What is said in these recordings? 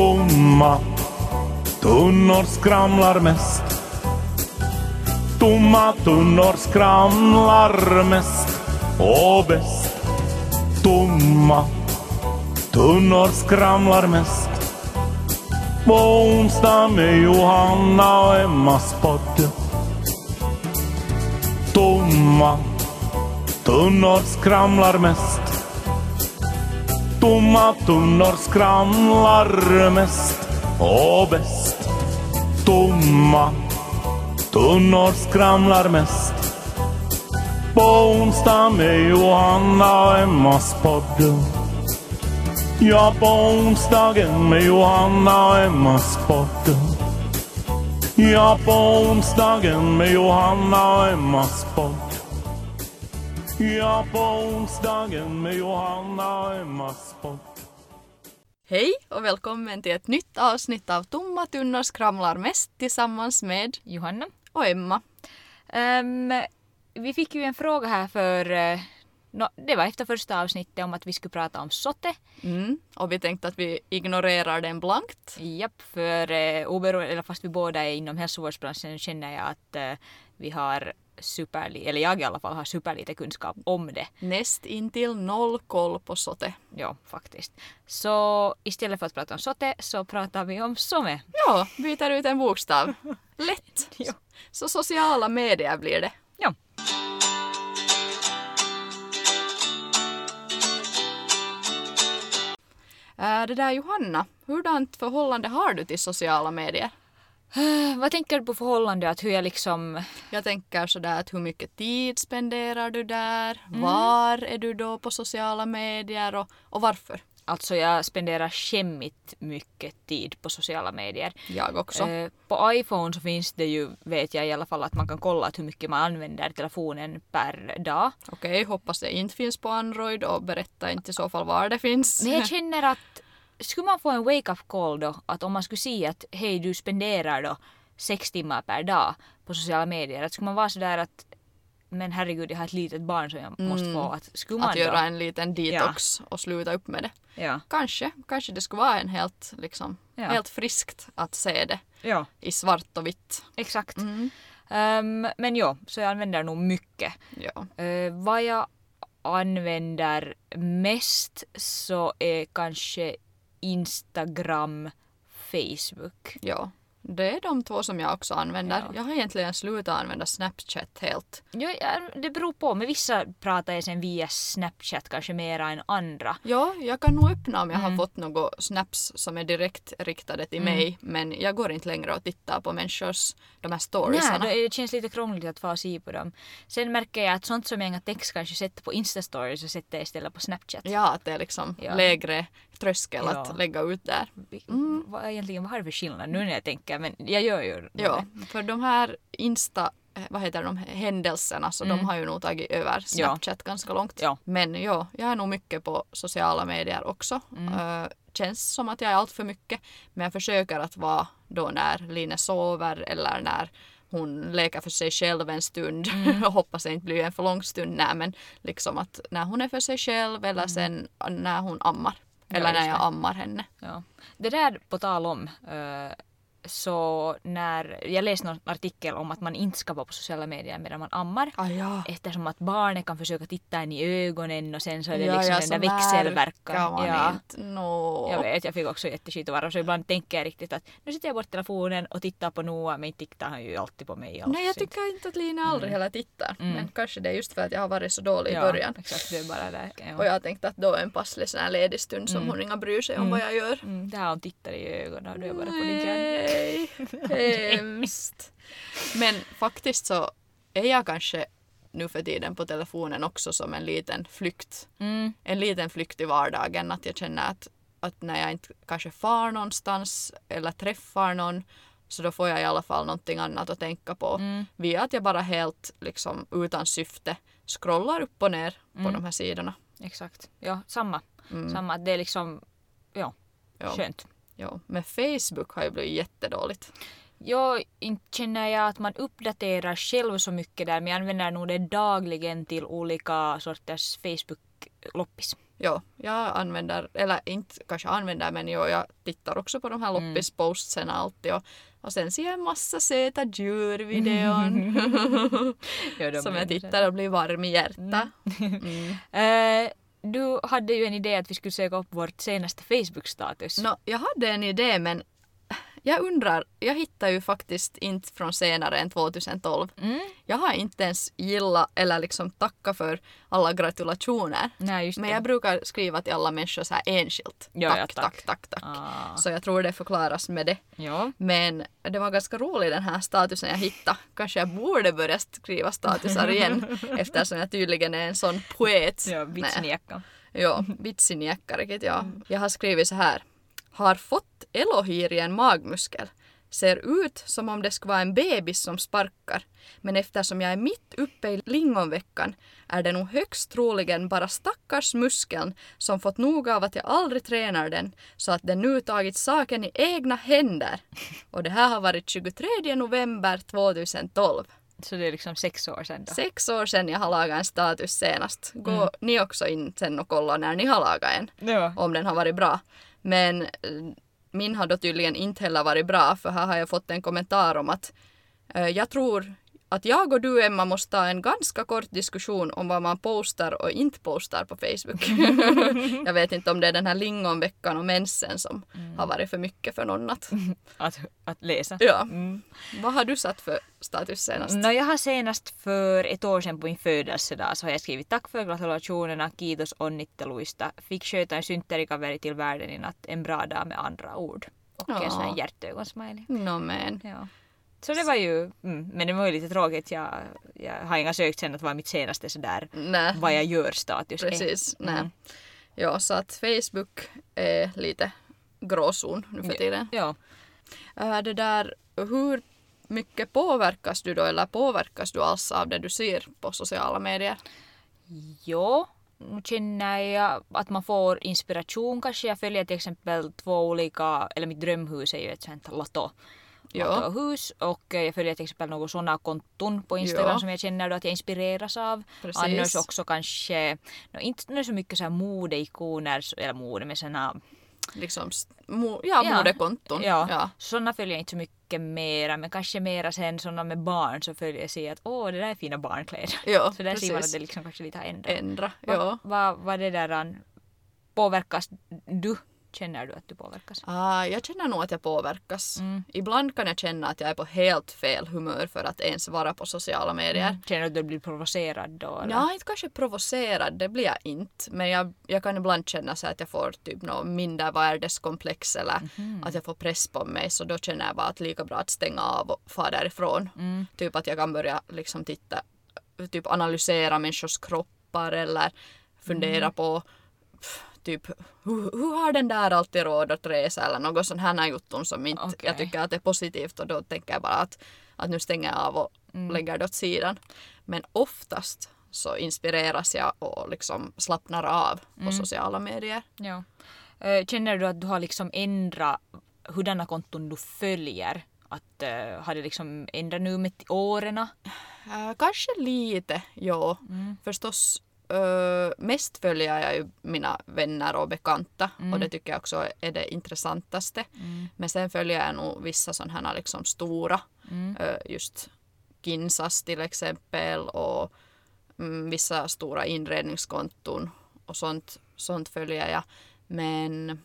Tomma tunnor skramlar mest. Tomma tunnor skramlar mest och bäst. Tomma tunnor skramlar mest. På onsdag med Johanna och Emmas podd. Tomma tunnor skramlar mest. Tomma tunnor skramlar mest och bäst. Tomma tunnor skramlar mest. På onsdag med Johanna och Emmas podd. Ja, på onsdagen med Johanna och Emmas podd. Ja, på onsdagen med Johanna och Emmas podd. Ja, på onsdagen med Johanna och Emmas podd. Hej och välkommen till ett nytt avsnitt av Tomma tunnor skramlar mest tillsammans med Johanna. och Emma. Ehm, vi fick ju en fråga här för, eh, nå, det var efter första avsnittet om att vi skulle prata om sotte. Mm. Och vi tänkte att vi ignorerar den blankt. Japp, för eh, oberoende, eller fast vi båda är inom hälsovårdsbranschen känner jag att eh, vi har superli, eller jag i alla fall har superlite kunskap om det. Näst intill noll koll på sote. Ja, faktiskt. Så istället för att prata om sotte så pratar vi om some. Ja, byter ut en bokstav. Lätt! Ja. Så sociala medier blir det. Ja. Äh, det där Johanna, hurdant förhållande har du till sociala medier? Eh, Vad tänker du på förhållande att hur jag liksom Jag tänker sådär att hur mycket tid spenderar du där? Mm. Var är du då på sociala medier och, och varför? Alltså jag spenderar skämmigt mycket tid på sociala medier. Jag också. Eh, på iPhone så finns det ju, vet jag i alla fall, att man kan kolla att hur mycket man använder telefonen per dag. Okej, hoppas det inte finns på Android och berätta inte i så fall var det finns. Men jag känner att skulle man få en wake-up call då, att om man skulle se att hej du spenderar då sex timmar per dag på sociala medier, att skulle man vara sådär att men herregud jag har ett litet barn som jag måste få, att skulle man Mm. att då? göra en liten detox och sluta upp med det. Ja. Kanske, kanske det skulle vara en helt, liksom, Ja. helt friskt att se det ja, i svart och vitt. exakt. Mm. Ehm, men ja, så jag använder nog mycket. Ja. Eh, vad jag använder mest så är kanske Instagram, Facebook. ja. Det är de två som jag också använder. Ja. Jag har egentligen slutat använda Snapchat helt. Ja, ja, det beror på, men vissa pratar jag sen via Snapchat kanske mera än andra. Ja, jag kan nog öppna om jag Mm. har fått några snaps som är direkt riktade till mig. Men jag går inte längre och tittar på människors de här Nej, storiesarna. då är- det känns lite krångligt att få se på dem. Sen märker jag att sånt som jag inga text kanske sätter på Instastory så sätter jag istället på Snapchat. Ja, att det är liksom Ja. lägre tröskel Ja. att lägga ut där. Vad, egentligen, vad har det för skillnad nu när jag tänker? Men jag gör ju nog Ja, det. för de här Insta, eh, vad heter de, händelserna, så de har ju nog tagit över Snapchat ganska långt. Ja. Men ja, jag är nog mycket på sociala medier också. Mm. Eh, känns som att jag är allt för mycket. Men jag försöker att vara då när Line sover eller när hon leker för sig själv en stund. Mm. och Hoppas det inte blir en för lång stund. Nej, men liksom att när hon är för sig själv eller sen när hon ammar. Eller Mm. just när jag ammar henne. Ja. Det där på tal om, eh, så när jag läste någon artikel om att man inte ska vara på sociala medier medan man ammar Ah, ja. eftersom att barnet kan försöka titta en i ögonen och sen så är det Ja, liksom ja, den så där växelverkan. Man Ja, inte. No. jag vet, jag fick också jätteskit och varv så ibland tänker jag riktigt att nu sätter jag bort telefonen och tittar på Noah men inte tittar han ju alltid på mig alls. Nej, jag tycker inte att Lina aldrig heller tittar. Men kanske det är just för att jag har varit så dålig i Mm. ja, början. Exakt, det är bara där. Ja. Och jag har tänkt att då är en passlig sån här ledig stund som hon inga bryr sig om vad jag gör. Mm, där hon tittar i ögonen och du är bara på din kärn. Nej, hemskt. Men faktiskt så är jag kanske nu för tiden på telefonen också som en liten flykt. Mm. En liten flykt i vardagen. Att jag känner att, att när jag inte kanske far någonstans eller träffar någon så då får jag i alla fall någonting annat att tänka på. Via att jag bara helt liksom utan syfte scrollar upp och ner på de här sidorna. Exakt, ja samma. Samma, det är liksom, ja, Mm. Ja. skönt. Ja. Men Facebook har ju blivit jättedåligt. Jag inte känner jag att man uppdaterar själv så mycket där men jag använder nog det dagligen till olika sorters Facebook-loppis. ja, jag använder, eller inte kanske använder men jo, jag tittar också på de här loppispostsen alltid och, och sen ser jag en massa söta djur vid videon Ja, de som blir jag inte- tittar och blir varm i Mm. hjärtat. Eh, du hade ju en idé att vi skulle söka upp vårt senaste Facebook-status. Nå, jag hade en idé men jag undrar, jag hittar ju faktiskt inte från senare än 2012. Mm. Jag har inte ens gillat eller liksom tackat för alla gratulationer. Nej, just Men det. jag brukar skriva till alla människor så här enskilt. Ja, tack, ja, tack. tack, tack, tack. Ah. Så jag tror det förklaras med det. Ja. Men det var ganska rolig den här statusen jag hittade. Kanske jag borde börja skriva statusar igen eftersom jag tydligen är en sån poet. Ja, Nej. vitsinjacka. Ja, vitsinjäckare, vet jag. Jag har skrivit så här. Har fått elohir i en magmuskel. Ser ut som om det skulle vara en bebis som sparkar. Men eftersom jag är mitt uppe i lingonveckan är det nog högst troligen bara stackars muskeln som fått nog av att jag aldrig tränar den så att den nu tagit saken i egna händer. Och det här har varit 23 november 2012. Så det är liksom sex år sedan då. Sex år sedan jag har lagat en status senast. Gå ni också in sen och kolla när ni har lagat en. Ja. Om den har varit bra. Men eh, min har då tydligen inte heller varit bra för här har jag fått en kommentar om att eh, jag tror att jag och du Emma måste ha en ganska kort diskussion om vad man postar och inte postar på Facebook. jag vet inte om det är den här lingonveckan och mensen som Mm. har varit för mycket för någon att... Att, att läsa. Ja. Mm. Vad har du satt för status senast? No, jag har senast för ett år sedan på min födelsedag så har jag skrivit tack för gratulationerna, kiitos onnitteluista, fick sköta en synterikaveri till världen i natt, en bra dag med andra ord. Och en sån här Ja. hjärtögonsmiley. No, men. Ja. Så det var ju, mm, men det var ju lite tråkigt, jag, jag har inga sökt sen att vad mitt senaste sådär Nej. vad jag gör-status är. Precis, nej. Mm. Ja, så att Facebook är lite gråzon nu för tiden. Ja. Äh, det där, hur mycket påverkas du då eller påverkas du alls av det du ser på sociala medier? Jo, nu känner jag att man får inspiration kanske. Jag följer till exempel två olika, eller mitt drömhus är ju ett sånt lato. Ja. Latohus och eh, jag följer till exempel några sådana konton på Instagram Ja. som jag känner då att jag inspireras av. Precis. Annars också kanske, no, inte nu så mycket så här modeikoner, s- eller mode men såna, Liksom, s- mo- ja, Ja. modekonton. ja, Ja. sådana följer jag inte så mycket mera men kanske mera sen sådana med barn så följer jag se att åh det där är fina barnkläder. Ja, så där ser man att precis. det liksom kanske lite har ändrats. Ändra, Vad ja. va, va det där an, påverkas du? Känner du att du påverkas? Ah, jag känner nog att jag påverkas. Ibland kan jag känna att jag är på helt fel humör för att ens vara på sociala medier. Känner du att du blir provocerad då? eller? Ja, inte kanske provocerad, det blir jag inte. Men jag, jag kan ibland känna så här att jag får typ något mindervärdeskomplex eller att jag får press på mig. Så då känner jag bara att lika bra att stänga av och fara därifrån. Typ att jag kan börja liksom titta, typ analysera människors kroppar eller fundera på pff, typ hur, hur har den där alltid råd att resa eller något sån här jutton som inte jag Okej. tycker att det är positivt och då tänker jag bara att, att nu stänger jag av och lägger det åt sidan. Men oftast så inspireras jag och liksom slappnar av på sociala medier. Ja. Eh, Känner du att du har liksom ändrat hurdana konton du följer? Att eh, har det liksom ändrat nu med åren? Mm. Äh, kanske lite, ja. Förstås äh, mest följer jag ju mina vänner och bekanta och det tycker jag också är det intressantaste. Mm. Men sen följer jag nog vissa sådana här liksom stora, Mm. äh, just Kinsas till exempel och mm, vissa stora inredningskonton och sånt, sånt följer jag. Men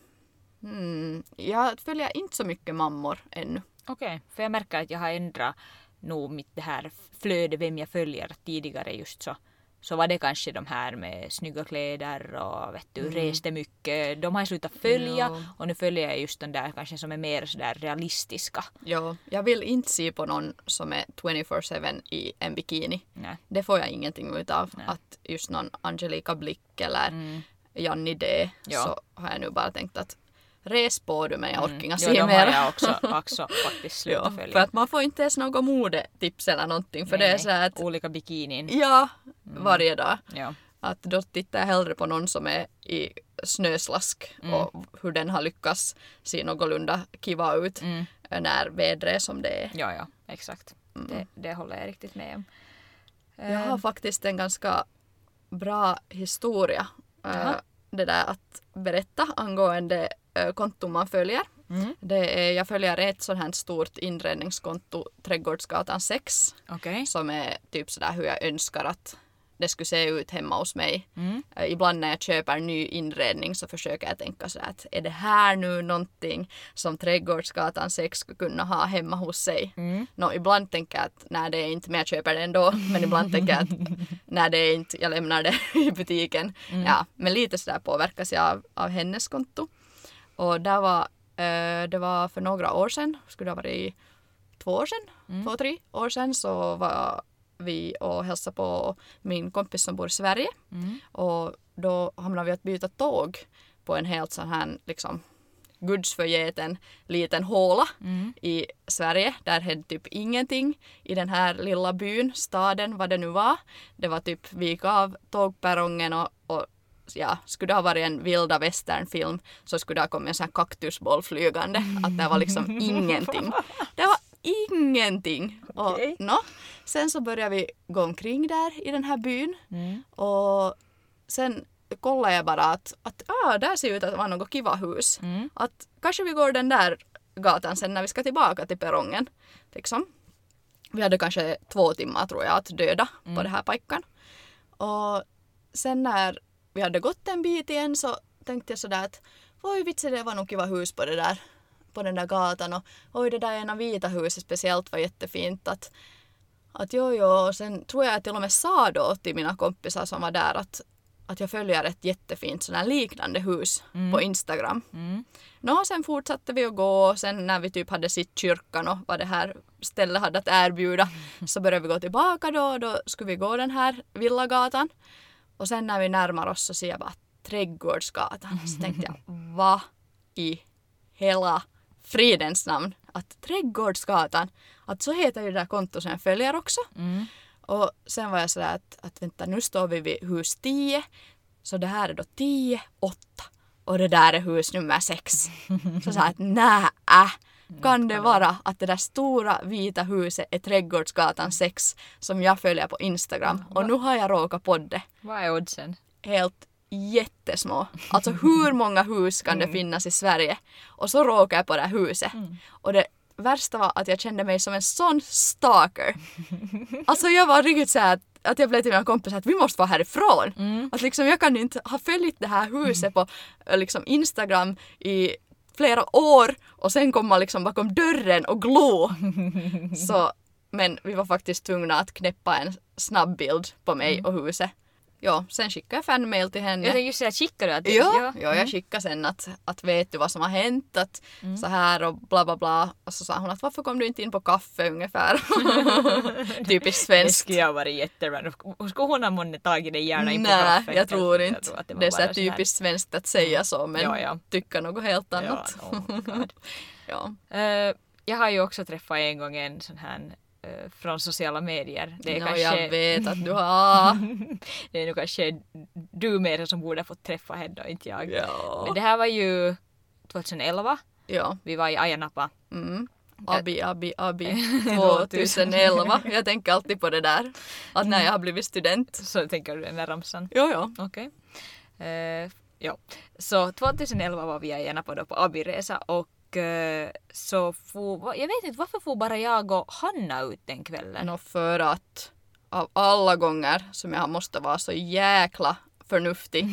mm, jag följer inte så mycket mammor ännu. Okej, för jag märker att jag har ändrat nog mitt det här flöde vem jag följer tidigare just så. Så var det kanske de här med snygga kläder och vet du, reste mycket. De har jag slutat följa Mm. Ja. och nu följer jag just de där kanske som är mer sådär realistiska. Ja, jag vill inte se på någon som är 24-7 i en bikini. Nej. Det får jag ingenting utav. Att just någon Angelica Blick eller Janni D. Mm. Ja. Så har jag nu bara tänkt att res på du men jag orkar inga Jo, se Mm. de har mer. jag också, också faktiskt Ja, slutat för följa. att man får inte ens något modetips eller någonting för Nej, Mm. det är nej. så här att Olika bikinin. ja, varje dag. Ja. Att då tittar jag hellre på någon som är i snöslask Mm. och hur den har lyckats se någorlunda kiva ut Mm. när vädret är som det är. ja, ja, exakt. Mm. Det, det håller jag riktigt med om. Jag har faktiskt en ganska bra historia. Äh, det där att berätta angående eh, konton man följer. Mm. Det är, jag följer ett sånt här stort inredningskonto, Trädgårdsgatan 6, Okej. som är typ sådär hur jag önskar att det skulle se ut hemma hos mig. Mm. Eh, Ibland när jag köper ny inredning så försöker jag tänka så här att är det här nu någonting som Trädgårdsgatan 6 skulle kunna ha hemma hos sig? Mm. Nå, ibland tänker jag att nej det är inte men jag köper det ändå. Men ibland tänker jag att nej det är inte, jag lämnar det i butiken. Ja, men lite sådär påverkas jag av, av hennes konto. Och där var, eh, det var för några år sedan, skulle det ha varit två år sedan, Mm. två, tre år sedan så var vi och hälsade på min kompis som bor i Sverige. Mm. Och då hamnade vi att byta tåg på en helt sån här liksom gudsförgeten liten håla Mm. i Sverige. Där hände typ ingenting. I den här lilla byn, staden, vad det nu var. Det var typ vik av tågperrongen och, och ja, skulle det ha varit en vilda västernfilm så skulle det ha kommit en sån här kaktusboll flygande. Att det var liksom ingenting. Det var ingenting. Och, Okej. nå, sen så började vi gå omkring där i den här byn Mm. och sen kollade jag bara att, att ah, där ser ut att vara något kiva hus. Mm. Att kanske vi går den där gatan sen när vi ska tillbaka till perrongen. Liksom. Vi hade kanske två timmar tror jag att döda Mm. på den här pojken. Och sen när vi hade gått en bit igen så tänkte jag sådär att oj vitsi det var nog kiva hus på det där på den där gatan och oj det där ena vita huset speciellt var jättefint att att jo, jo, och sen tror jag att jag till och med sa då till mina kompisar som var där att, att jag följer ett jättefint sån här liknande hus på Instagram. Mm. Nå, sen fortsatte vi att gå och sen när vi typ hade sett kyrkan och vad det här stället hade att erbjuda så började vi gå tillbaka då och då skulle vi gå den här villagatan. Och sen när vi närmar oss så ser jag bara Trädgårdsgatan. Så tänkte jag, vad i hela fridens namn? Att Trädgårdsgatan, att så heter ju det där kontot som jag följer också. Mm. Och sen var jag sådär att, att vänta nu står vi vid hus 10. Så det här är då 10, 8 och det där är hus nummer 6. Så sa jag att nä, äh, kan det vara att det där stora vita huset är Trädgårdsgatan 6 som jag följer på Instagram och nu har jag råkat på det Vad är oddsen? helt jättesmå. Alltså hur många hus kan det finnas i Sverige? Och så råkade jag på det här huset. Och det värsta var att jag kände mig som en sån stalker. Alltså jag var riktigt såhär att, att jag blev till mina kompisar att vi måste vara härifrån. Mm. Att liksom jag kan inte ha följt det här huset på eh, liksom Instagram i flera år och sen komma liksom bakom dörren och glo. Så, men vi var faktiskt tvungna att knäppa en snabbbild på mig och huset. Ja, sen skickade jag fanmail till henne. Mm. Jag tänkte Mm. just säga, skickar du att Ja, ja, jag skickade sen att, att vet du vad som har hänt, att Mm. så här och bla bla bla. Och så sa hon att varför kom du inte in på kaffe ungefär? Typiskt Det svenskt. skulle jag ha varit jätterad. Skulle hon ha månne tagit dig gärna in på Nej, kaffet? jag tror inte. tror att det, var är så här bara här- typiskt svenskt att säga så men Ja, ja. tycka något helt annat. Ja, oh my god. Ja. Eh, jag har ju också träffat en gång en sån här eh, från sociala medier. Det är, Nå, kanske, jag vet att du har... det är nog kanske du mer som borde ha fått träffa henne och inte jag. Men ja. det här var ju 2011. ja. Vi var i Ayanapa. Mm. Abi, abi, abi 2011. Jag tänker alltid på det där. Att när jag har blivit student. Så tänker du den där ramsan. Jo, jo. Okej. Eh, ja. Så 2011 var vi i Ayanapa då på Abiresa och eh, så for, va- jag vet inte varför for bara jag och Hanna ut den kvällen? Nå, för att av alla gånger som jag måste vara så jäkla förnuftig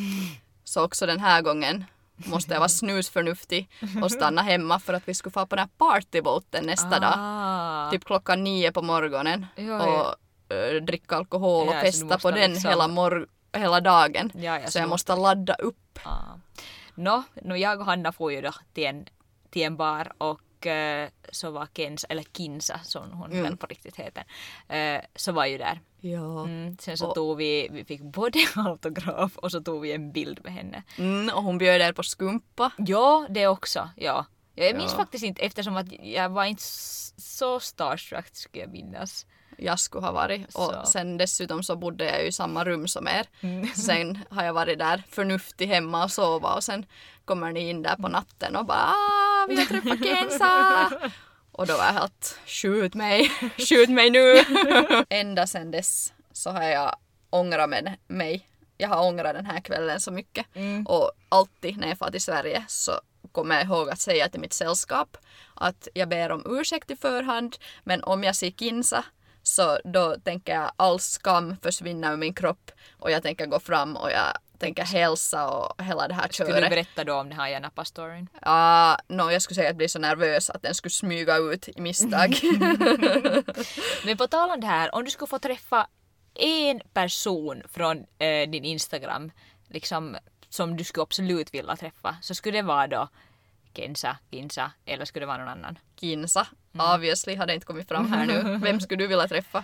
så också den här gången måste jag vara snusförnuftig och stanna hemma för att vi skulle få på den här partyboten nästa dag. Ah. Typ klockan nio på morgonen Jo, och eh, dricka alkohol och Ja, så du festa på måste den liksom- hela, mor- hela dagen. Ja, ja, så jag så- måste ladda upp. Ah. Nå, no, jag och Hanna får ju då till en, till en bar och eh, så var Kensa, eller Kinsa som hon Mm. väl på riktigt heter, eh, så var ju där. Ja. Mm, sen så Och- tog vi, vi fick både autograf och så tog vi en bild med henne. Mm, och hon bjöd er på skumpa. Ja, det också. Ja. Ja, jag minns Ja. faktiskt inte eftersom att jag var inte s- så starstruck skulle jag minnas. jag skulle ha varit. Och Så. Mm. sen dessutom så bodde jag ju i samma rum som er. Sen har jag varit där förnuftig hemma och sova och sen kommer ni in där på natten och bara "Ah, vi har träffat Kenza! Och då var jag helt skjut mig, skjut mig nu! Ända sen dess så har jag ångrat men- mig jag har ångrat den här kvällen så mycket. Mm. Och alltid när jag far till Sverige så kommer jag ihåg att säga till mitt sällskap att jag ber om ursäkt i förhand men om jag ser Kinsa så då tänker jag all skam försvinna ur min kropp och jag tänker gå fram och jag tänker hälsa och hela det här Skulle du köret. berätta då om den här Janapa-storyn? Ah, no, jag skulle säga att jag blir så nervös att den skulle smyga ut i misstag. Men på tal om det här, om du skulle få träffa en person från eh, din Instagram liksom, som du skulle absolut vilja träffa så skulle det vara då Kensa, Kinsa eller skulle det vara någon annan? Kinsa, obviously, hade inte kommit fram här nu. Vem skulle du vilja träffa?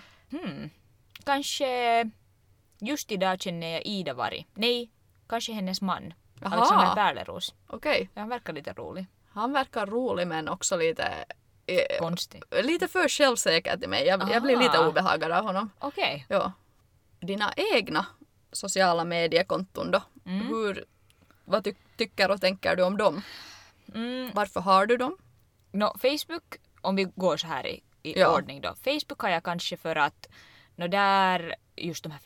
Kanske just idag känner jag Ida Vari. Nej, kanske hennes man. Aha. Alexander Pärleros. Okej, Ja, Han verkar lite rolig. han verkar rolig men också lite eh, Konstig. lite för självsäker till mig. Jag, jag blir Aha. lite obehagad av honom. Okej. Ja. Dina egna sociala mediekonton då? Hur, vad ty- tycker och tänker du om dem? Mm, Varför har du dem? Nå, Facebook, om vi går så här i, i Ja. ordning då. Facebook har jag kanske för att, nå där, just de här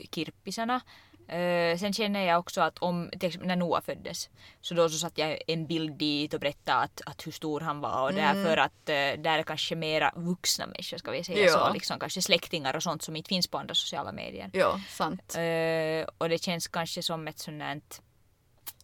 Facebook-kirppisarna. Eh, sen känner jag också att om, till exempel när Noah föddes, så då så satt jag en bild dit och berättade att, att hur stor han var och Mm. därför att eh, där är kanske mera vuxna människor ska vi säga Ja. så, liksom kanske släktingar och sånt som inte finns på andra sociala medier. Ja, sant. Eh, och det känns kanske som ett sånt där,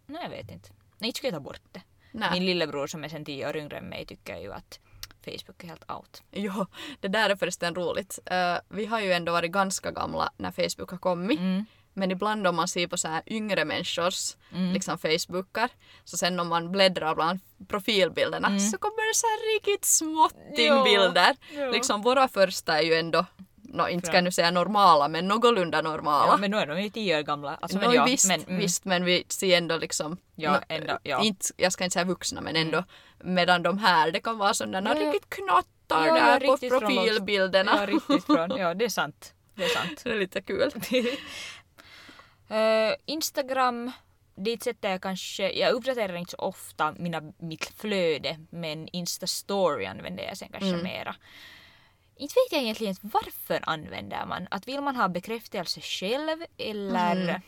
nej jag vet inte. Nej, inte skulle jag ta bort det. Min Nej. lillebror som är sen tio år yngre än mig tycker ju att Facebook är helt out. Jo, det där är förresten roligt. Eh, vi har ju ändå varit ganska gamla när Facebook har kommit. Mm. Men ibland om man ser på så här yngre människors Mm. liksom Facebookar, så sen om man bläddrar bland profilbilderna Mm. så kommer det så här riktigt småttingbilder. Jo, jo. Liksom våra första är ju ändå, nå inte ska jag nu säga normala, men någorlunda normala. Ja, men nu är de ju tio år gamla. Alltså, men Nå, ja, visst, men, mm, visst, men vi ser ändå liksom, Ja, nå, eh, ändå, ja. Mm. Inte, jag ska inte säga vuxna men ändå, medan de här, det kan vara sådana Ja, ja. riktigt knattar Ja, ja, där på riktigt från oss. profilbilderna. Ja, riktigt från. Ja, det är sant. Det är sant. det är lite kul. Eh, Instagram, dit sätter jag kanske, jag uppdaterar inte så ofta mina, mitt flöde men Insta-story använder jag sen kanske mera. Inte vet jag egentligen varför använder man? Att vill man ha bekräftelse själv eller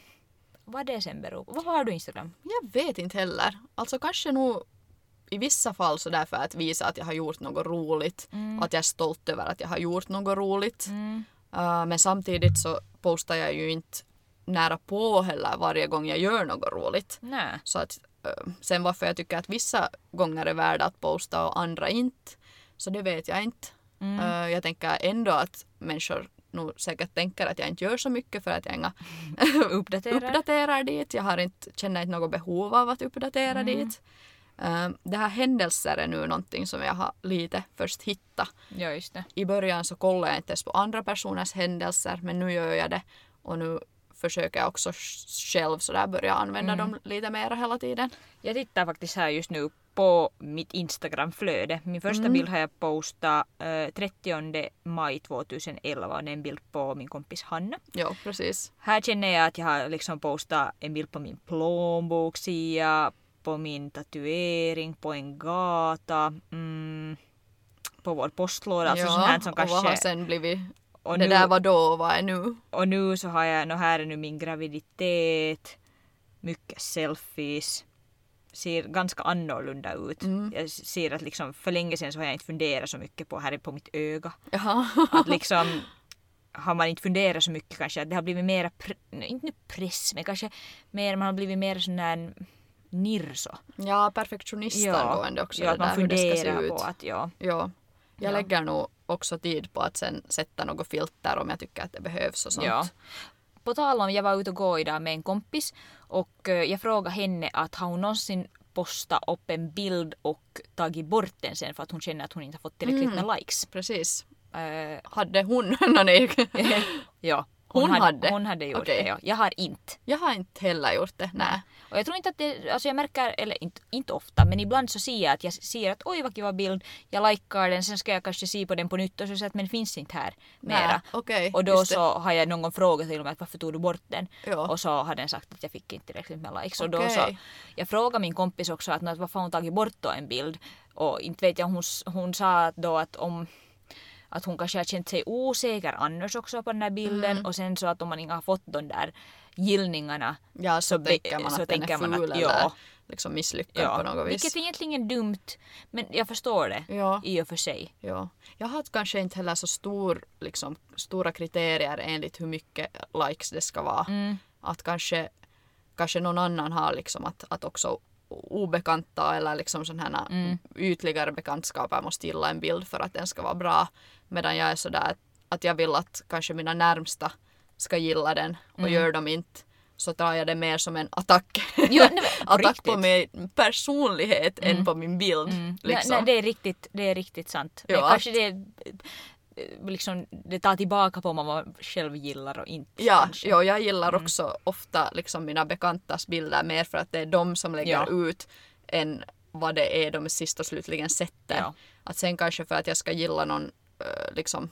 vad det sen beror på? Vad har du Instagram? Jag vet inte heller. Alltså kanske nog i vissa fall så därför att visa att jag har gjort något roligt och att jag är stolt över att jag har gjort något roligt. Äh, men samtidigt så postar jag ju inte nära på heller varje gång jag gör något roligt. Nej. Så att, eh, sen varför jag tycker att vissa gånger är värda att posta och andra inte, så det vet jag inte. Eh, jag tänker ändå att människor nog säkert tänker att jag inte gör så mycket för att jag inga Uppdaterar. uppdaterar dit. Jag har inte, känner inte något behov av att uppdatera Mm. dit. Eh, det här händelser är nu någonting som jag har lite först hittat. Ja, just det. I början så kollade jag inte ens på andra personers händelser men nu gör jag det och nu försöker jag också sj- själv sådär börja använda Mm. dem lite mer hela tiden. Jag tittar faktiskt här just nu på mitt Instagram-flöde. Min första Mm. bild har jag postat eh, 30 maj 2011 och det är en bild på min kompis Hanna. Jo, precis. Här känner jag att jag har liksom postat en bild på min plånbok, ser jag, på min tatuering, på en gata, mm, på vår postlåda. Alltså sånt här som och vad har kanske... sen blivit? Och det nu- där var då och vad är nu? Och nu så har jag, no här är nu min graviditet, mycket selfies, ser ganska annorlunda ut. Mm. Jag ser att liksom för länge sedan så har jag inte funderat så mycket på, här är på mitt öga, Jaha. att liksom har man inte funderat så mycket kanske att det har blivit mera, pr- nej, inte nu press men kanske mer, man har blivit mer sån där nirso. Ja, perfektionist angående också ja, det att man där hur det ska se funderar ut. på att ja. Ja. Jag Ja. lägger nog också tid på att sen sätta något filter om jag tycker att det behövs och sånt. Ja. På tal om, jag var ute och gå idag med en kompis och eh, jag frågade henne att har hon någonsin postat upp en bild och tagit bort den sen för att hon känner att hon inte har fått tillräckligt Mm. med likes. Precis. Eh, Hade hon någon egen? ja. Hon hade? Hon hade gjort Okej. det, ja. Jag har inte. jag har inte heller gjort det. Nej. Och jag tror inte att det, alltså jag märker, eller inte, inte ofta, men ibland så ser jag att jag ser att oj vad kiva bild, jag likar den, sen ska jag kanske se på den på nytt och så ser jag att men finns inte här mera. Nej, Okej. Och då just det. så har jag någon gång frågat till mig att varför tog du bort den? Ja. Och så har den sagt att jag fick inte tillräckligt med likes. Och då Okej. så, jag frågade min kompis också att, "Nå, att varför har hon tagit bort då en bild? Och inte vet jag, hon, s- hon sa att då att om Mm. att hon kanske har känt sig osäker annars också på den här bilden och sen så att om man inte har fått de där gillningarna Ja, så, så bli- tänker man så att den tänker är man att- ful eller ja. liksom misslyckad på något vis. Vilket egentligen är dumt, men jag förstår det Mm. Ja. i och för sig. Ja. Jag har kanske inte heller så stor, liksom, stora kriterier enligt hur mycket likes det ska vara. Mm. Att kanske, kanske någon annan har liksom att, att också obekanta eller liksom sådana Mm. ytligare bekantskaper måste gilla en bild för att den ska vara bra. Medan jag är sådär att, att jag vill att kanske mina närmsta ska gilla den och Mm. gör de inte så tar jag det mer som en attack. Jo, nej, men på attack på riktigt. Mm. min personlighet än på min bild. Liksom. Nej, nej, det, är riktigt, det är riktigt sant. Ja, men kanske det, eh, liksom, det tar tillbaka på vad man själv gillar och inte. Ja, kanske. Mm. jo, jag gillar också ofta liksom mina bekantas bilder mer för att det är de som lägger Ja. ut än vad det är de sist och slutligen sätter. Ja. Att sen kanske för att jag ska gilla någon, eh, liksom,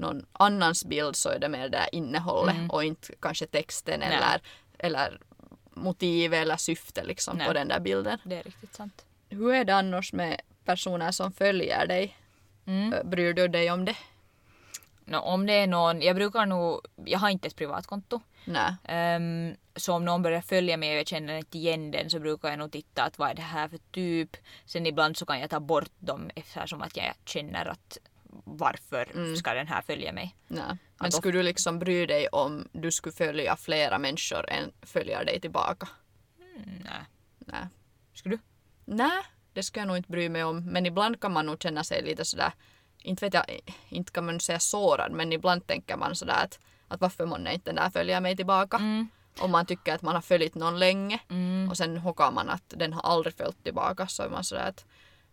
någon annans bild så är det mer det här innehållet och inte kanske texten Mm. Nej. eller, eller motiv eller syfte liksom, Nej. på den där bilden. Det är riktigt sant. Hur är det annars med personer som följer dig? Mm. Eh, Bryr du dig om det? Nå, om det är någon, jag brukar nog, jag har inte ett privatkonto. Nej. Ehm, så om någon börjar följa mig och jag känner inte igen den så brukar jag nog titta att vad är det här för typ. Sen ibland så kan jag ta bort dem eftersom att jag känner att varför ska den här följa mig? Nej. Men Att of- skulle du liksom bry dig om du skulle följa flera människor än följer dig tillbaka? Nej. Nej. Skulle du? Nej, det skulle jag nog inte bry mig om. Men ibland kan man nog känna sig lite sådär, inte vet jag, inte kan man säga sårad, men ibland tänker man sådär att, att varför månne inte den där följer mig tillbaka? Om man tycker att man har följt någon länge och sen hockar man att den har aldrig följt tillbaka så är man sådär att,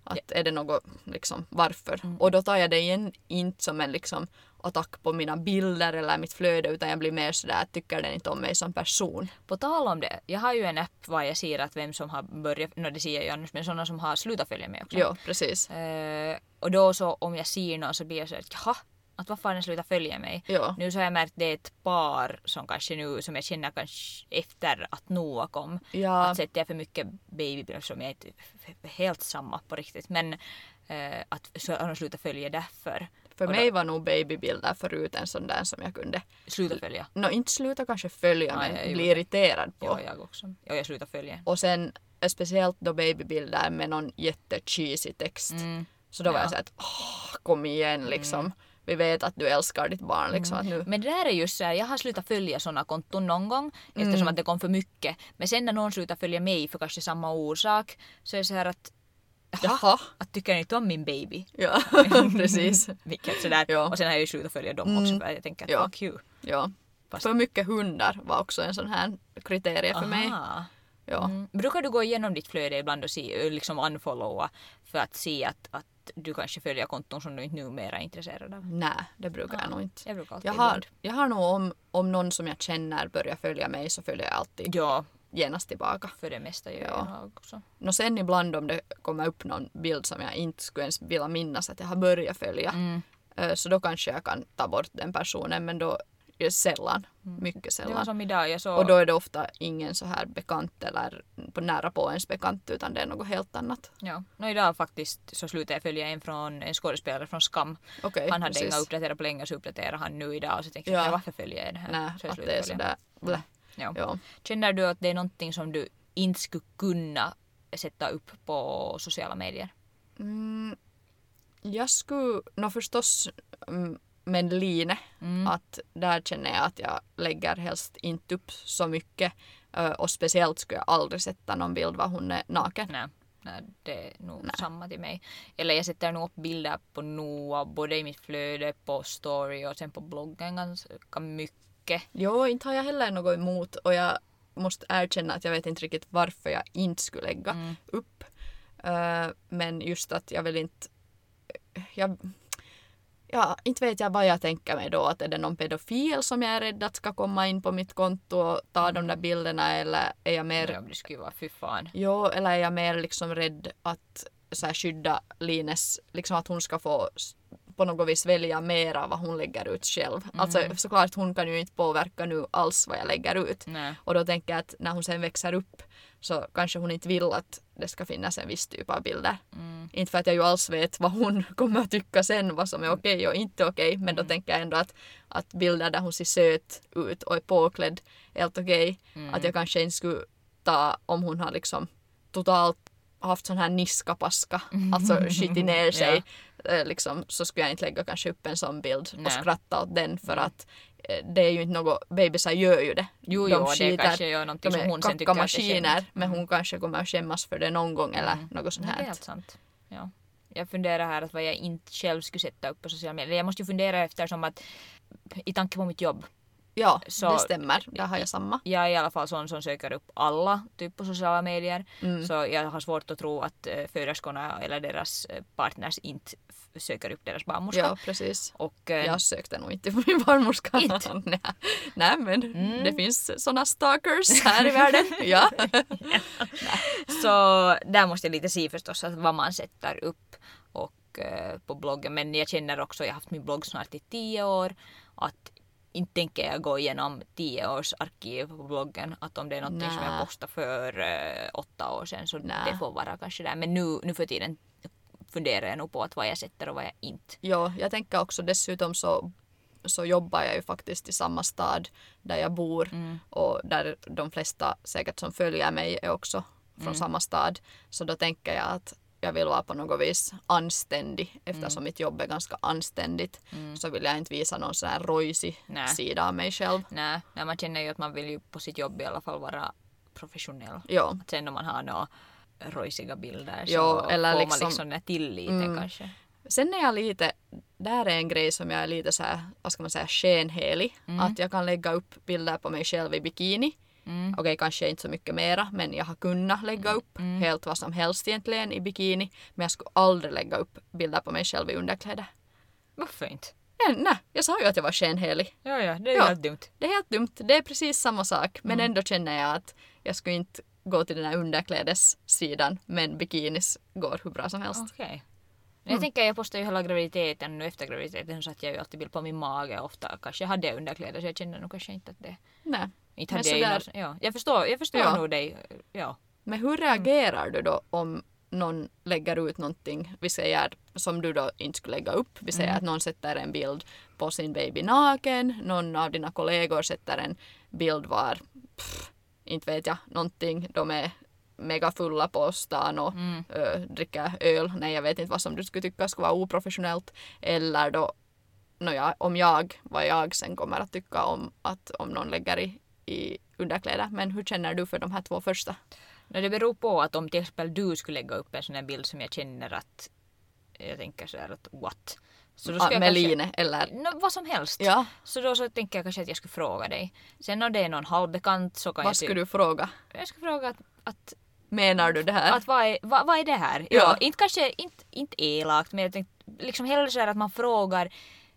att är det något, liksom varför? Och då tar jag det igen inte som en liksom attack på mina bilder eller mitt flöde utan jag blir mer sådär att tycker den inte om mig som person? På tal om det, jag har ju en app var jag ser att vem som har börjat, no, det ser jag ju annars, men sådana som har slutat följa mig också. Jo, precis. Eh, och då så om jag ser någon så blir jag så att jaha, att varför har den slutat följa mig? Ja. Nu så har jag märkt det är ett par som kanske nu, som jag känner kanske efter att Noah kom. Ja. Att sätter jag för mycket babybilder som jag inte helt samma på riktigt. Men eh, att så har de slutat följa därför. För Och mig var nog babybilder förut en sån där som jag kunde, då, sluta följa. nå inte sluta kanske följa Nej, men jag gjorde bli det. irriterad på. Ja, jag också. Ja, jag slutar följa. Och sen eh, speciellt då babybilder med någon jättecheesy text. Så då var jag Mm. Ja. Mm. såhär att "Åh, kom igen liksom. Vi vet att du älskar ditt barn liksom. Att nu. Men det där är just så här, jag har slutat följa såna konton någon gång eftersom Mm. att det kom för mycket. Men sen när någon slutar följa mig för kanske samma orsak så är det så här att Jaha. att tycker ni inte om min baby? Ja, precis. Vilket sådär. Ja. Mm. Och sen har jag ju slutat följa dem också för att jag tänker att Ja. fuck you. Ja. Fast- För mycket hundar var också en sån här kriterie för mig. Aha. Ja. Mm. Brukar du gå igenom ditt flöde ibland och se, liksom unfollowa för att se att, att du kanske följer konton som du inte numera är intresserad av? Nej, det brukar jag nog inte. Jag brukar alltid Jag har, ibland. jag har nog om, om någon som jag känner börjar följa mig så följer jag alltid Ja, genast tillbaka. för det mesta gör Ja. jag nog också. No sen ibland om det kommer upp någon bild som jag inte skulle ens vilja minnas att jag har börjat följa. Mm. eh, Så då kanske jag kan ta bort den personen men då är det sällan. Mycket Mm. Det var sällan. som idag, jag såg... Och då är det ofta ingen så här bekant eller på nära på ens bekant utan det är något helt annat. Ja. No, idag faktiskt så slutade jag följa en, från, en skådespelare från Skam. Okej, han hade precis. inga uppdaterat på länge och så uppdaterade han nu idag och så tänkte Ja. jag "Nej, varför följer jag den här? Nej, så jag att slutade det är följa. sådär. blä. Ja. Ja. Känner du att det är någonting som du inte skulle kunna sätta upp på sociala medier? Jag skulle, nå förstås mm, men Line, att där känner jag att jag lägger helst inte upp så mycket. Ö, Och speciellt skulle jag aldrig sätta någon bild var hon är naken. Nej, nej det är nog samma till mig. Eller jag sätter nog upp bilder på Noah, både i mitt flöde, på story och sen på bloggen ganska mycket. Jo, inte har jag heller något emot och jag måste erkänna att jag vet inte riktigt varför jag inte skulle lägga upp. Ö, men just att jag vill inte... Jag, ja, inte vet jag vad jag tänker mig då. Att är det någon pedofil som jag är rädd att ska komma in på mitt konto och ta de där bilderna eller är jag mer... Ja, det skulle ju vara fy fan. Jo, eller är jag mer liksom rädd att så här, skydda Lines, liksom att hon ska få s- på något vis välja mera vad hon lägger ut själv. Alltså såklart hon kan ju inte påverka nu alls vad jag lägger ut. Nej. Och då tänker jag att mm. när hon sen växer upp så kanske hon inte vill att det ska finnas en viss typ av bilder Inte för att jag ju alls vet vad hon kommer att tycka sen, vad som är okej och inte okej. Men då Mm. tänker jag ändå att, att bilder där hon ser söt ut och är påklädd är helt okej. Mm. Att jag kanske inte skulle ta om hon har liksom totalt haft sån här niskapaska, Mm. alltså skitit ner sig. eh, Liksom, så skulle jag inte lägga kanske upp en sån bild och Nej. Mm. skratta åt den för att eh, det är ju inte något, bebisar gör ju det. Jo, jo, det kanske gör någonting de som är hon sen tycker att det är kackamaskiner, skämt. men hon kanske kommer att skämmas för det någon gång eller något sånt Nej, Mm. Det är här. helt sant. Ja. Jag funderar här att vad jag inte själv skulle sätta upp på sociala medier. Jag måste ju fundera eftersom att i tanke på mitt jobb Ja, Så- det stämmer. Där har jag samma. jag är i alla fall sån som söker upp alla typ på sociala medier. Så jag har svårt att tro att eh, föderskorna eller deras eh, partners inte f- söker upp deras barnmorska. Ja, precis. Och, eh, Jag sökte nog inte på min barnmorska. Inte? Mm. Nej. Nej, men det finns såna stalkers här i världen. ja. Så där måste jag lite se förstås att vad man sätter upp och, eh, på bloggen. Men jag känner också, jag har haft min blogg snart i tio år, att inte tänker jag gå igenom tio års arkiv på bloggen. Att om det är något som jag Nä. postade för eh, åtta år sedan så Nä. det får vara kanske där. Men nu, nu för tiden funderar jag nog på att vad jag sätter och vad jag inte. ja, jag tänker också dessutom så, så jobbar jag ju faktiskt i samma stad där jag bor Mm. och där de flesta säkert som följer mig är också från Mm. samma stad. Så då tänker jag att jag vill vara på något vis anständig Mm. eftersom mitt jobb är ganska anständigt så vill jag inte visa någon sån här rojsig Nä. sida av mig själv. Nej, nej, man känner ju att man vill ju på sitt jobb i alla fall vara professionell. Ja, Att sen om man har några rojsiga bilder så Ja, eller får man liksom- liksom den här tilliten Mm. kanske. Sen är jag lite, där är en grej som jag är lite så här, vad ska man säga, skenhelig. Att jag kan lägga upp bilder på mig själv i bikini. Mm. Okej, kanske inte så mycket mera, men jag har kunnat lägga upp Mm. helt vad som helst egentligen i bikini. Men jag skulle aldrig lägga upp bilder på mig själv i underkläder. Varför inte? Nej, nej, jag sa ju att jag var skenhelig. Ja, ja, det är Ja. helt dumt. Det är helt dumt, det är precis samma sak. Men Mm. ändå känner jag att jag skulle inte gå till den här underklädessidan, men bikinis går hur bra som helst. Okej. Jag tänker jag postar ju hela graviditeten nu efter graviditeten så att jag ju alltid bild på min mage ofta kanske hade jag underkläder så jag känner nog kanske inte att det Nej. inte Men hade jag ju sådär- någon- ja. Jag förstår, jag förstår Ja. nog dig. Ja. Men hur reagerar du då om någon lägger ut någonting, vi säger som du då inte skulle lägga upp, vi säger att någon sätter en bild på sin baby naken, någon av dina kollegor sätter en bild var, pff, inte vet jag, någonting, de är mega fulla på stan och ö, dricker öl, nej jag vet inte vad som du skulle tycka skulle vara oprofessionellt, eller då nåja, om jag, vad jag sen kommer att tycka om att om någon lägger i, i underkläder, men hur känner du för de här två första? No, det beror på att om till exempel du skulle lägga upp en sån här bild som jag känner att jag tänker sådär att what. Så då Ah, ska jag med kanske- line eller... Nå, vad som helst. Ja, Så då så tänker jag kanske att jag skulle fråga dig. Sen om det är någon halvbekant så kan vad jag... typ- skulle du fråga? Jag skulle fråga att, att Menar du det här? Att vad är, vad, vad är det här? Ja. Äh. Ja. inte kanske inte, inte elakt men jag tänkte liksom hellre så här att man frågar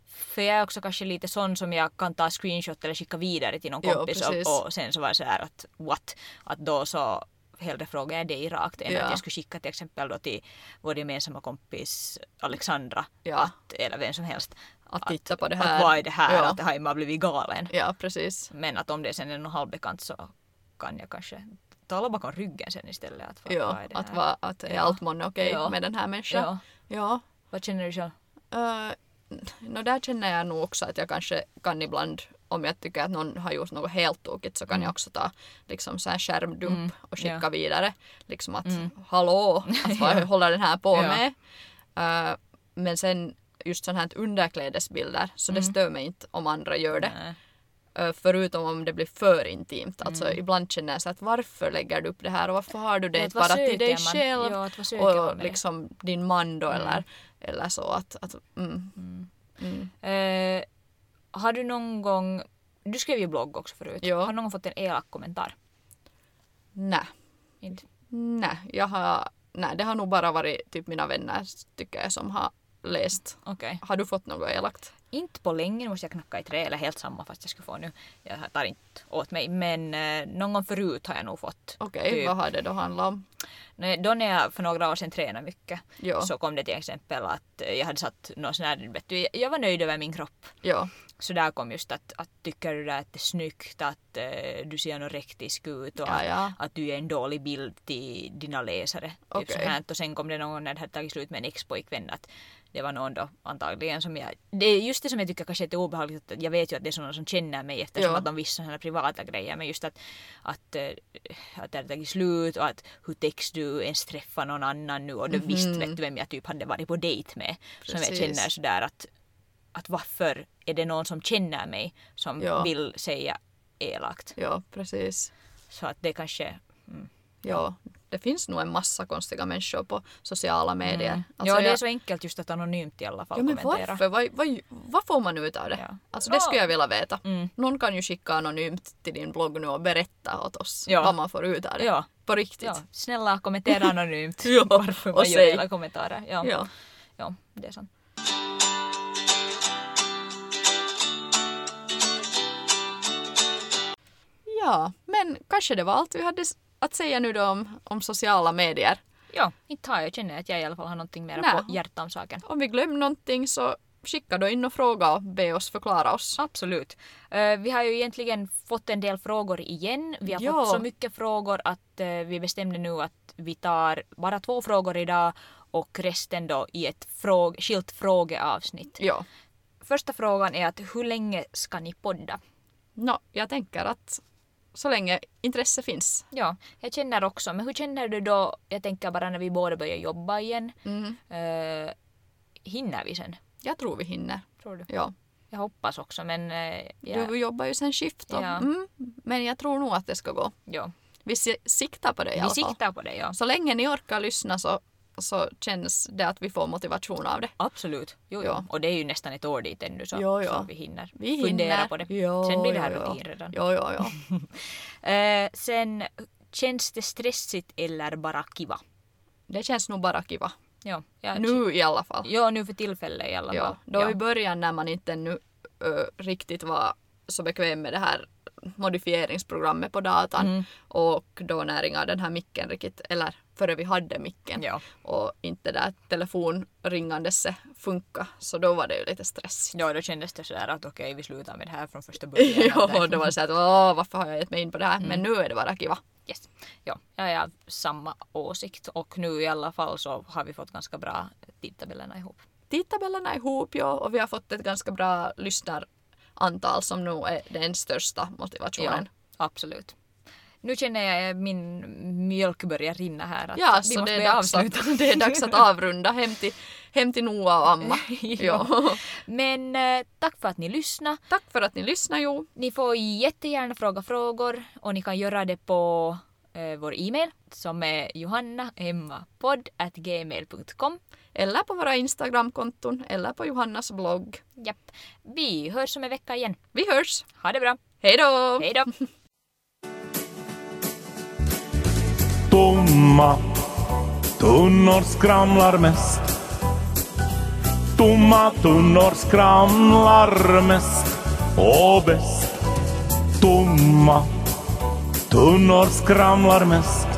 för jag är också kanske lite sån som jag kan ta screenshot eller skicka vidare till någon Jo, kompis precis. och, och sen så var det så här att what? Att då så hellre frågar jag dig rakt än Ja. att jag skulle skicka till exempel då till vår gemensamma kompis Alexandra Ja. att, eller vem som helst. Att titta på det här. Att vad är det här? Ja. Att det har ju bara blivit galen. Ja, precis. Men att om det sen är någon halvbekant så kan jag kanske tala bakom ryggen sen istället. Att vad, Ja, vad är det att, här? va, att är Ja. allt månne okej Ja. med den här människan? Ja. ja. Vad känner du själv? Uh, no, där känner jag nog också att jag kanske kan ibland, om jag tycker att någon har gjort något helt tokigt så kan jag också ta liksom så här skärmdump och skicka Mm. ja. Mm. vidare. Liksom att hallå, att vad håller den här på Ja. med? Uh, men sen just sådana här underklädesbilder, så Mm. det stör mig inte om andra gör det. Nej. Ö, Eh, förutom om det blir för intimt. Alltså Mm. ibland känner jag så att varför lägger du upp det här och varför har du det Att inte vad bara till söker dig man? själv Ja, att vad söker man och med? Mm. liksom din man då eller, eller så att, att mm. Eh, har du någon gång, du skrev ju blogg också förut, Ja. har någon gång fått en elak kommentar? nej, Inte. nej, jag har, nej, det har nog bara varit typ mina vänner tycker jag som har läst. Okej. Har du fått något elakt? inte på länge, nu måste jag knacka i trä eller helt samma fast jag skulle få nu. Jag tar inte åt mig men eh, någon gång förut har jag nog fått. Okej, Typ. vad har det då handlat om? Nej, Då när jag för några år sedan tränade mycket Jo, så kom det till exempel att eh, jag hade satt någon sån här, vet du, jag- jag var nöjd över min kropp. jo, Så där kom just att, att tycker du där att det är snyggt, att eh, du ser anorektisk ut och ja, att- ja. att du ger en dålig bild till dina läsare. Typ Okej. så här. Och sen kom det någon när det hade tagit slut med en ex-pojkvän att det var någon då antagligen som jag... Det är just det som jag tycker kanske är lite obehagligt att jag vet ju att det är sådana som känner mig eftersom Ja. att de visste sådana här privata grejer men just att, att, eh, att det hade tagit slut och att hur täcks du ens träffa någon annan nu och du visste vet du vem jag typ hade varit på dejt med. Som jag Mm. Precis. känner sådär att, att varför är det någon som känner mig som Ja. vill säga elakt. Jo, precis. Så att det kanske Alltså Jo, det finns nog en massa konstiga människor på sociala medier. Alltså Mm. ja, det är jag- så enkelt just att anonymt i alla fall Ja men kommentera. varför? Vad, vad, vad får man ut av det? Ja. Alltså det Ja. skulle jag vilja veta. Mm. Någon kan ju skicka anonymt till din blogg nu och berätta åt oss Ja. vad man får ut av det. Ja, På riktigt. ja, snälla kommentera anonymt Ja, varför man och gör säg. hela kommentarer. Ja, ja. Ja. det är sant. ja, men kanske det var allt vi hade s- att säga nu då om, om sociala medier. Ja, inte har jag känner att jag i alla fall har någonting mer Nä. på hjärtat om saken. Om vi glömde någonting så skicka då in och fråga och be oss förklara oss. Absolut. Eh, vi har ju egentligen fått en del frågor igen. Vi har Ja. fått så mycket frågor att eh, vi bestämde nu att vi tar bara två frågor idag och resten då i ett fråg- skilt frågeavsnitt. Ja. Första frågan är att hur länge ska ni podda? No, jag tänker att så länge intresse finns. Ja, jag känner också. Men hur känner du då, jag tänker bara när vi båda börjar jobba igen, Mm. eh, hinner vi sen? Jag tror vi hinner. Tror du? Ja. Jag hoppas också men eh, ja, Du jobbar ju sen skift. och- Ja. Mm. Men jag tror nog att det ska gå. ja. Vi si- siktar på det i vi alla fall. siktar på det ja. Så länge ni orkar lyssna så, så känns det att vi får motivation av det. Absolut. Jo, jo. Ja. Och det är ju nästan ett år dit ännu så, Jo, jo. så vi hinner Vi fundera hinner. på det. Jo, sen blir det här jo, jo. rutin redan. Jo, jo, jo. Eh, sen, känns det stressigt eller bara kiva? Det känns nog bara kiva. Ja, jag, Nu i alla fall. Ja, nu för tillfället i alla fall. Ja, då Ja. i början när man inte nu riktigt var så bekväm med det här modifieringsprogrammet på datan Mm. och då när inga den här micken riktigt, eller före vi hade micken Ja. och inte det där telefonringandet funka så då var det ju lite stressigt. ja, då kändes det sådär att okej, vi slutar med det här från första början. jo, då var det så att åh, varför har jag gett mig in på det här? Mm. Men nu är det bara kiva. Yes. Ja, jag är av samma åsikt och nu i alla fall så har vi fått ganska bra tidtabellerna ihop. tidtabellerna ihop ja, och vi har fått ett ganska bra lyssnarantal som nog är den största motivationen. absolut. Nu känner jag eh, min mjölk börjar rinna här. Att Ja, vi så måste det är, börja dags avsluta. att, det är dags att avrunda hem till, hem till Noa och Amma. ja. Men eh, tack för att ni lyssnade. Tack för att ni lyssnade Jo. Ni får jättegärna fråga frågor och ni kan göra det på eh, vår e-mail som är johannahemmapodd.gmail.com. Eller på våra Instagramkonton eller på Johannas blogg. Japp. Vi hörs om en vecka igen. Vi hörs! Ha det bra. Hej då! Hej då. Tomma tunnor skramlar mest Tomma tunnor skramlar mest och bäst Tomma tunnor skramlar mest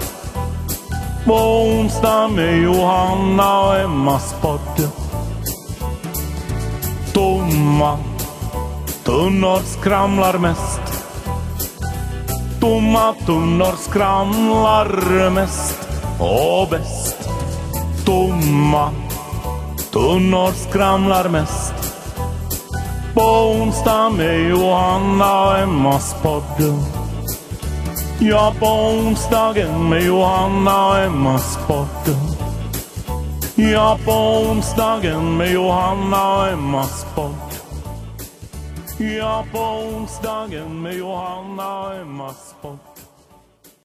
På onsdag med Johanna och Emmas podd Tomma tunnor skramlar mest Tomma tunnor skramlar mest och bäst. Tomma tunnor skramlar mest. På onsdag med Johanna och Emmas podd. Ja, på onsdagen med Johanna och Emmas podd. Ja, på onsdagen med Johanna och Emmas podd. Ja, på onsdagen med Johanna och Emmas podd.